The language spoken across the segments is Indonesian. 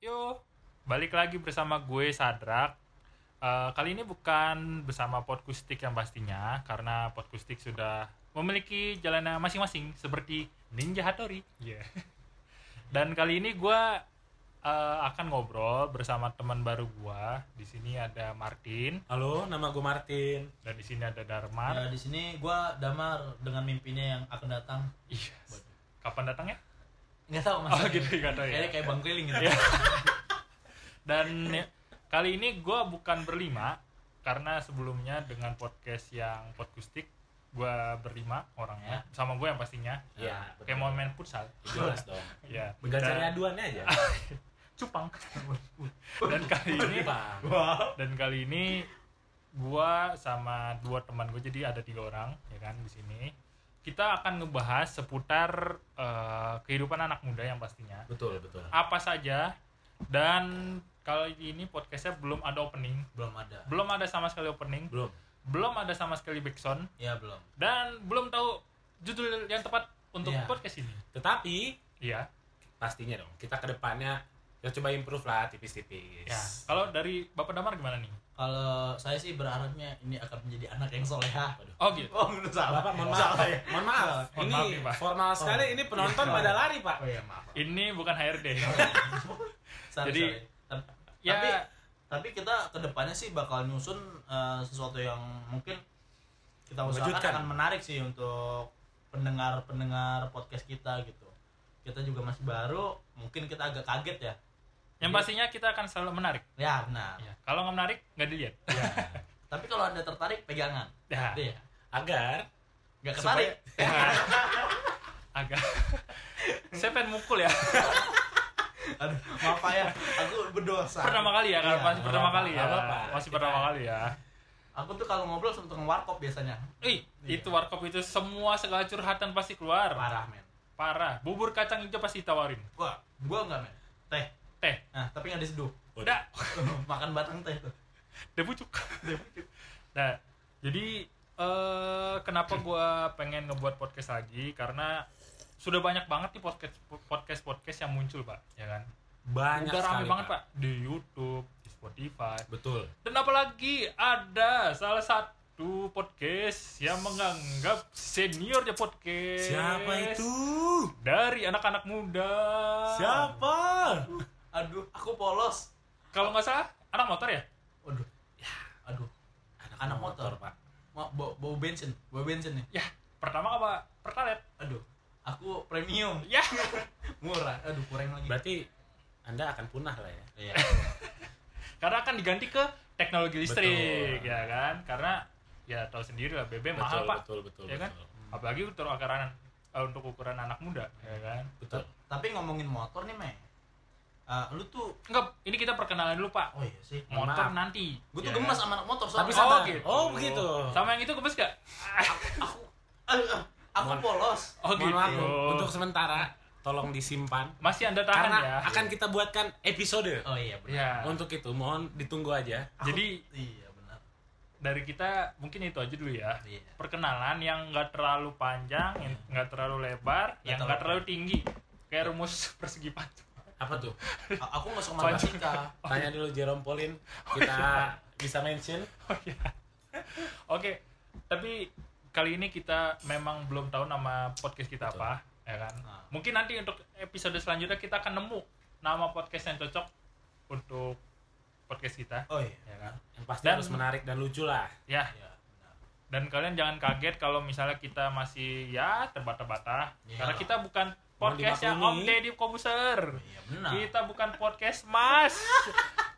Yo, balik lagi bersama gue Sadrak. Eh, kali ini bukan bersama Podkustik yang pastinya, karena Podkustik sudah memiliki jalannya masing-masing seperti Ninja Hattori. Iya. Dan kali ini gue eh, akan ngobrol bersama teman baru gue. Di sini ada Martin Halo, nama gue Martin. dan di sini ada Darman. Ya, di sini gua damar dengan mimpinya yang akan datang. Iya. Kapan datangnya? Nggak tahu mas. Oh, gitu, nggak tahu ya. Kayaknya kayak bang keliling gitu. Ya. Dan ya, kali ini gue bukan berlima karena sebelumnya dengan podcast yang podkustik gue berlima orangnya sama gue yang pastinya Iya, kayak mau main futsal Jelas dong. ya Dan- Bergacarnya aduannya aja. Ah, cupang dan kali ini Bang. dan kali ini gua sama dua teman gue jadi ada tiga orang ya kan di sini kita akan ngebahas seputar eh, kehidupan anak muda yang pastinya Betul, betul. apa saja dan kali ini podcastnya belum ada opening belum ada. belum ada sama sekali opening Belum. belum ada sama sekali backsound Ya belum. dan belum tahu judul yang tepat untuk Iya. podcast ini Tetapi iya pastinya dong, kita ke depannya ya coba improve lah tipis-tipis. ya kalau dari bapak damar gimana nih Kalau saya sih berharapnya ini akan menjadi anak yang soleha. oh gitu Oh, menurut salah. Bapak, mohon maaf. Salah ya. Mohon maaf. Mohon ini maaf nih, Pak. Oh. formal sekali, ini penonton Iya. pada lari, Pak. Oh iya maaf. ini bukan HRD Sorry, Jadi- sorry. Tapi- ya Tapi- Tapi kita kedepannya sih bakal nyusun eh, sesuatu yang mungkin kita usahakan Mengejutkan. akan menarik sih untuk pendengar-pendengar podcast kita gitu. Kita juga masih baru, mungkin kita agak kaget ya. yang pastinya kita akan selalu menarik Ya benar. ya. kalau nggak menarik nggak dilihat Ya. Tapi kalau anda tertarik pegangan. ya. Iya. Agar Gak Supaya- Iya. ketarik. agak saya pengen mukul ya Aduh, maaf Pak, ya, aku berdosa. pertama kali ya kalau Iya, masih nggak pertama apa-apa, kali ya nggak apa-apa. masih Kita- pertama kali ya Aku tuh kalau ngobrol sama tukang warkop biasanya. Iya. Ih, iya. itu warkop itu semua segala curhatan pasti keluar. Parah men. Parah. Bubur kacang hijau pasti ditawarin. Gua, gua nggak men. Teh. Teh. Nah, tapi nggak diseduh. Eh, Udah, Makan batang teh tuh. dia pucuk. Dia pucuk. Nah, jadi eh kenapa gua pengen ngebuat podcast lagi karena sudah banyak banget nih podcast podcast podcast yang muncul, Pak, ya kan? banyak Udah sekali, rame banget, Pak, di YouTube, di Spotify. Betul. Dan apalagi ada salah satu podcast yang menganggap seniornya podcast. Siapa itu? Dari anak-anak muda. Siapa? Aduh, aku polos. Kalau nggak salah, anak motor ya? Aduh. Ya, aduh. Anak motor, Pak. Mau bau, bau bensin, bau bensin nih. Ya, pertama apa? Pertalet. Aduh. Aku premium, Ya, murah. Aduh, kurang lagi. Berarti Anda akan punah lah ya. Iya. karena akan diganti ke teknologi listrik, Betul. ya kan? Karena ya tahu sendiri lah BBM mahal, Pak. betul, betul, ya kan? betul. Apalagi untuk ukuran eh, untuk ukuran anak muda, ya kan? Betul. tapi ngomongin motor nih, Mei. Eh, lu tuh Enggak, ini kita perkenalan dulu, Pak. Oh iya sih. Mohon Motor maaf. nanti. Gue tuh ya kan? gemes sama anak motor Tapi soalnya. Oh, sama- Oh, gitu. Oh, begitu. Sama yang itu gemes gak? aku aduh, aduh, aku polos. Oh, Mohon gitu. maaf untuk sementara tolong disimpan Masih Anda tahan karena ya. akan kita buatkan episode. Oh iya benar. Ya. Untuk itu mohon ditunggu aja. Jadi Iya benar. dari kita mungkin itu aja dulu ya. Iya. Perkenalan yang nggak terlalu panjang, yang nggak terlalu lebar, yang terlalu- nggak terlalu tinggi. Kayak rumus persegi panjang. Apa tuh? A- Aku nggak suka matematika. Tanya dulu Jerome Pauline. Kita bisa mention. Oh iya. Oke, tapi kali ini kita memang belum tahu nama podcast kita Betul. apa, ya kan? Nah. Mungkin nanti untuk episode selanjutnya kita akan nemu nama podcast yang cocok untuk podcast kita, Oh iya. ya kan? Yang pasti Dan- harus menarik dan lucu lah. Ya, Iya benar. dan kalian jangan kaget kalau misalnya kita masih ya terbata-bata Iya. karena kita bukan Mohon podcastnya Om dimaklumi. Nah. Deddy Kobuser Iya benar. kita bukan podcast Mas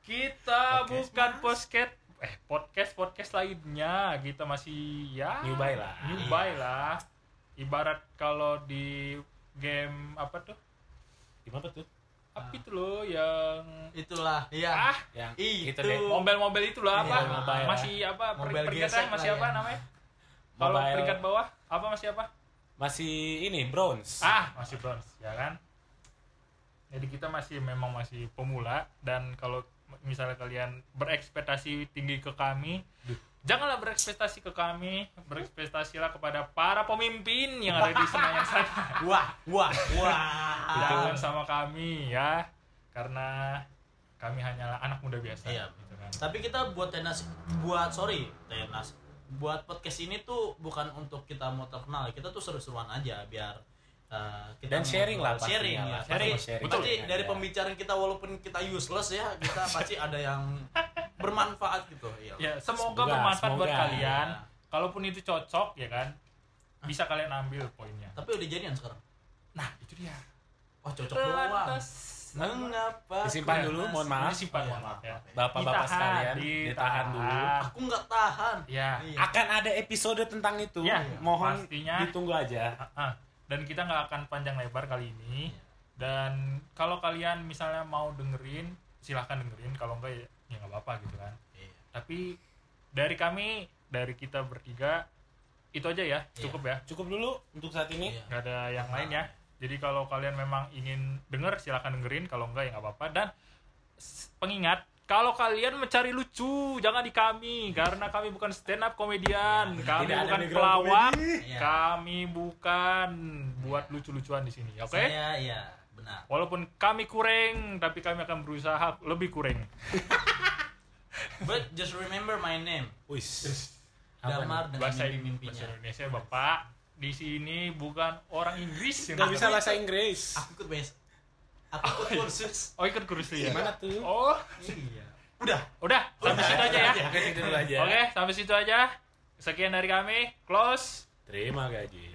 kita Podcast bukan podcast eh podcast podcast lainnya kita masih ya Newbie lah. newbie lah ibarat kalau di game apa tuh Gimana tuh? apa itu loh yang Itulah. Iya. ah Yang Itu. gitu deh. mobil-mobil itu loh Iya, apa mobile. masih apa per- Mobile peringkatnya gesek masih lah apa ya. namanya kalau Mobile. peringkat bawah apa masih apa Masih ini bronze. ah masih bronze ya kan jadi kita masih memang masih pemula dan kalau misalnya kalian berekspektasi tinggi ke kami janganlah berekspektasi ke kami berekspektasilah kepada para pemimpin yang ada di Senayan sana Wah, wah, wah. kan Ah. jangan sama kami ya karena kami hanyalah anak muda biasa Iya. gitu kan. Tapi kita buat tenas buat sorry tenas buat podcast ini tuh bukan untuk kita mau terkenal, kita tuh seru-seruan aja biar eh, kita Dan sharing lah pastinya sharing lah, ya. pasti Sharing. mau sharing. Pasti Betul. dari Iya. pembicaraan kita walaupun kita useless ya, kita pasti ada yang bermanfaat gitu. Iya. Ya, semoga, Semoga, bermanfaat buat semoga. kalian. Iya. Kalaupun itu cocok ya kan, Ah. bisa kalian ambil poinnya. Tapi udah jadian sekarang. Nah, itu dia. Wah, cocok doang. Mengapa? Disimpan ku dulu, emas? mohon maaf. Disimpan, Oh, iya, mohon maaf ya. maaf. Bapak-bapak sekalian, ditahan, dulu. Iya. Aku nggak tahan. Ya. Iya. Akan ada episode tentang itu. Ya, Mohon pastinya. ditunggu aja. Ah, dan kita nggak akan panjang lebar kali ini. Iya. Dan kalau kalian misalnya mau dengerin, silahkan dengerin. Kalau enggak ya ya nggak apa-apa gitu kan. Iya. Tapi dari kami, dari kita bertiga, itu aja ya, Iya. cukup ya. Cukup dulu untuk saat ini. Iya. Nggak ada yang lain ya. Jadi kalau kalian memang ingin denger, silahkan dengerin. Kalau enggak ya nggak apa-apa. Dan s- pengingat, kalau kalian mencari lucu, jangan di kami. Karena kami bukan stand up komedian. Kami Iya. Tidak ada bukan background pelawak. komedi. Iya. Iya. Kami bukan buat lucu-lucuan di sini, oke? Saya ya, benar. Walaupun kami kurang, tapi kami akan berusaha lebih kurang. But just remember my name. Wis. Apa Damar dengan Bahasa bahasa mimpi-mimpinya. Indonesia, Bapak. Di sini bukan orang Inggris nih? yang Nggak datang. bisa bahasa Inggris. Aku ikut bes. Aku ikut kursus. Oh, ikut kursus ya? Gimana tuh? Oh, Iya. Udah. udah. Sampai situ aja ya. Iya. Oke, situ dulu aja. Oke, sampai situ aja. Sekian dari kami. Close. Terima gaji.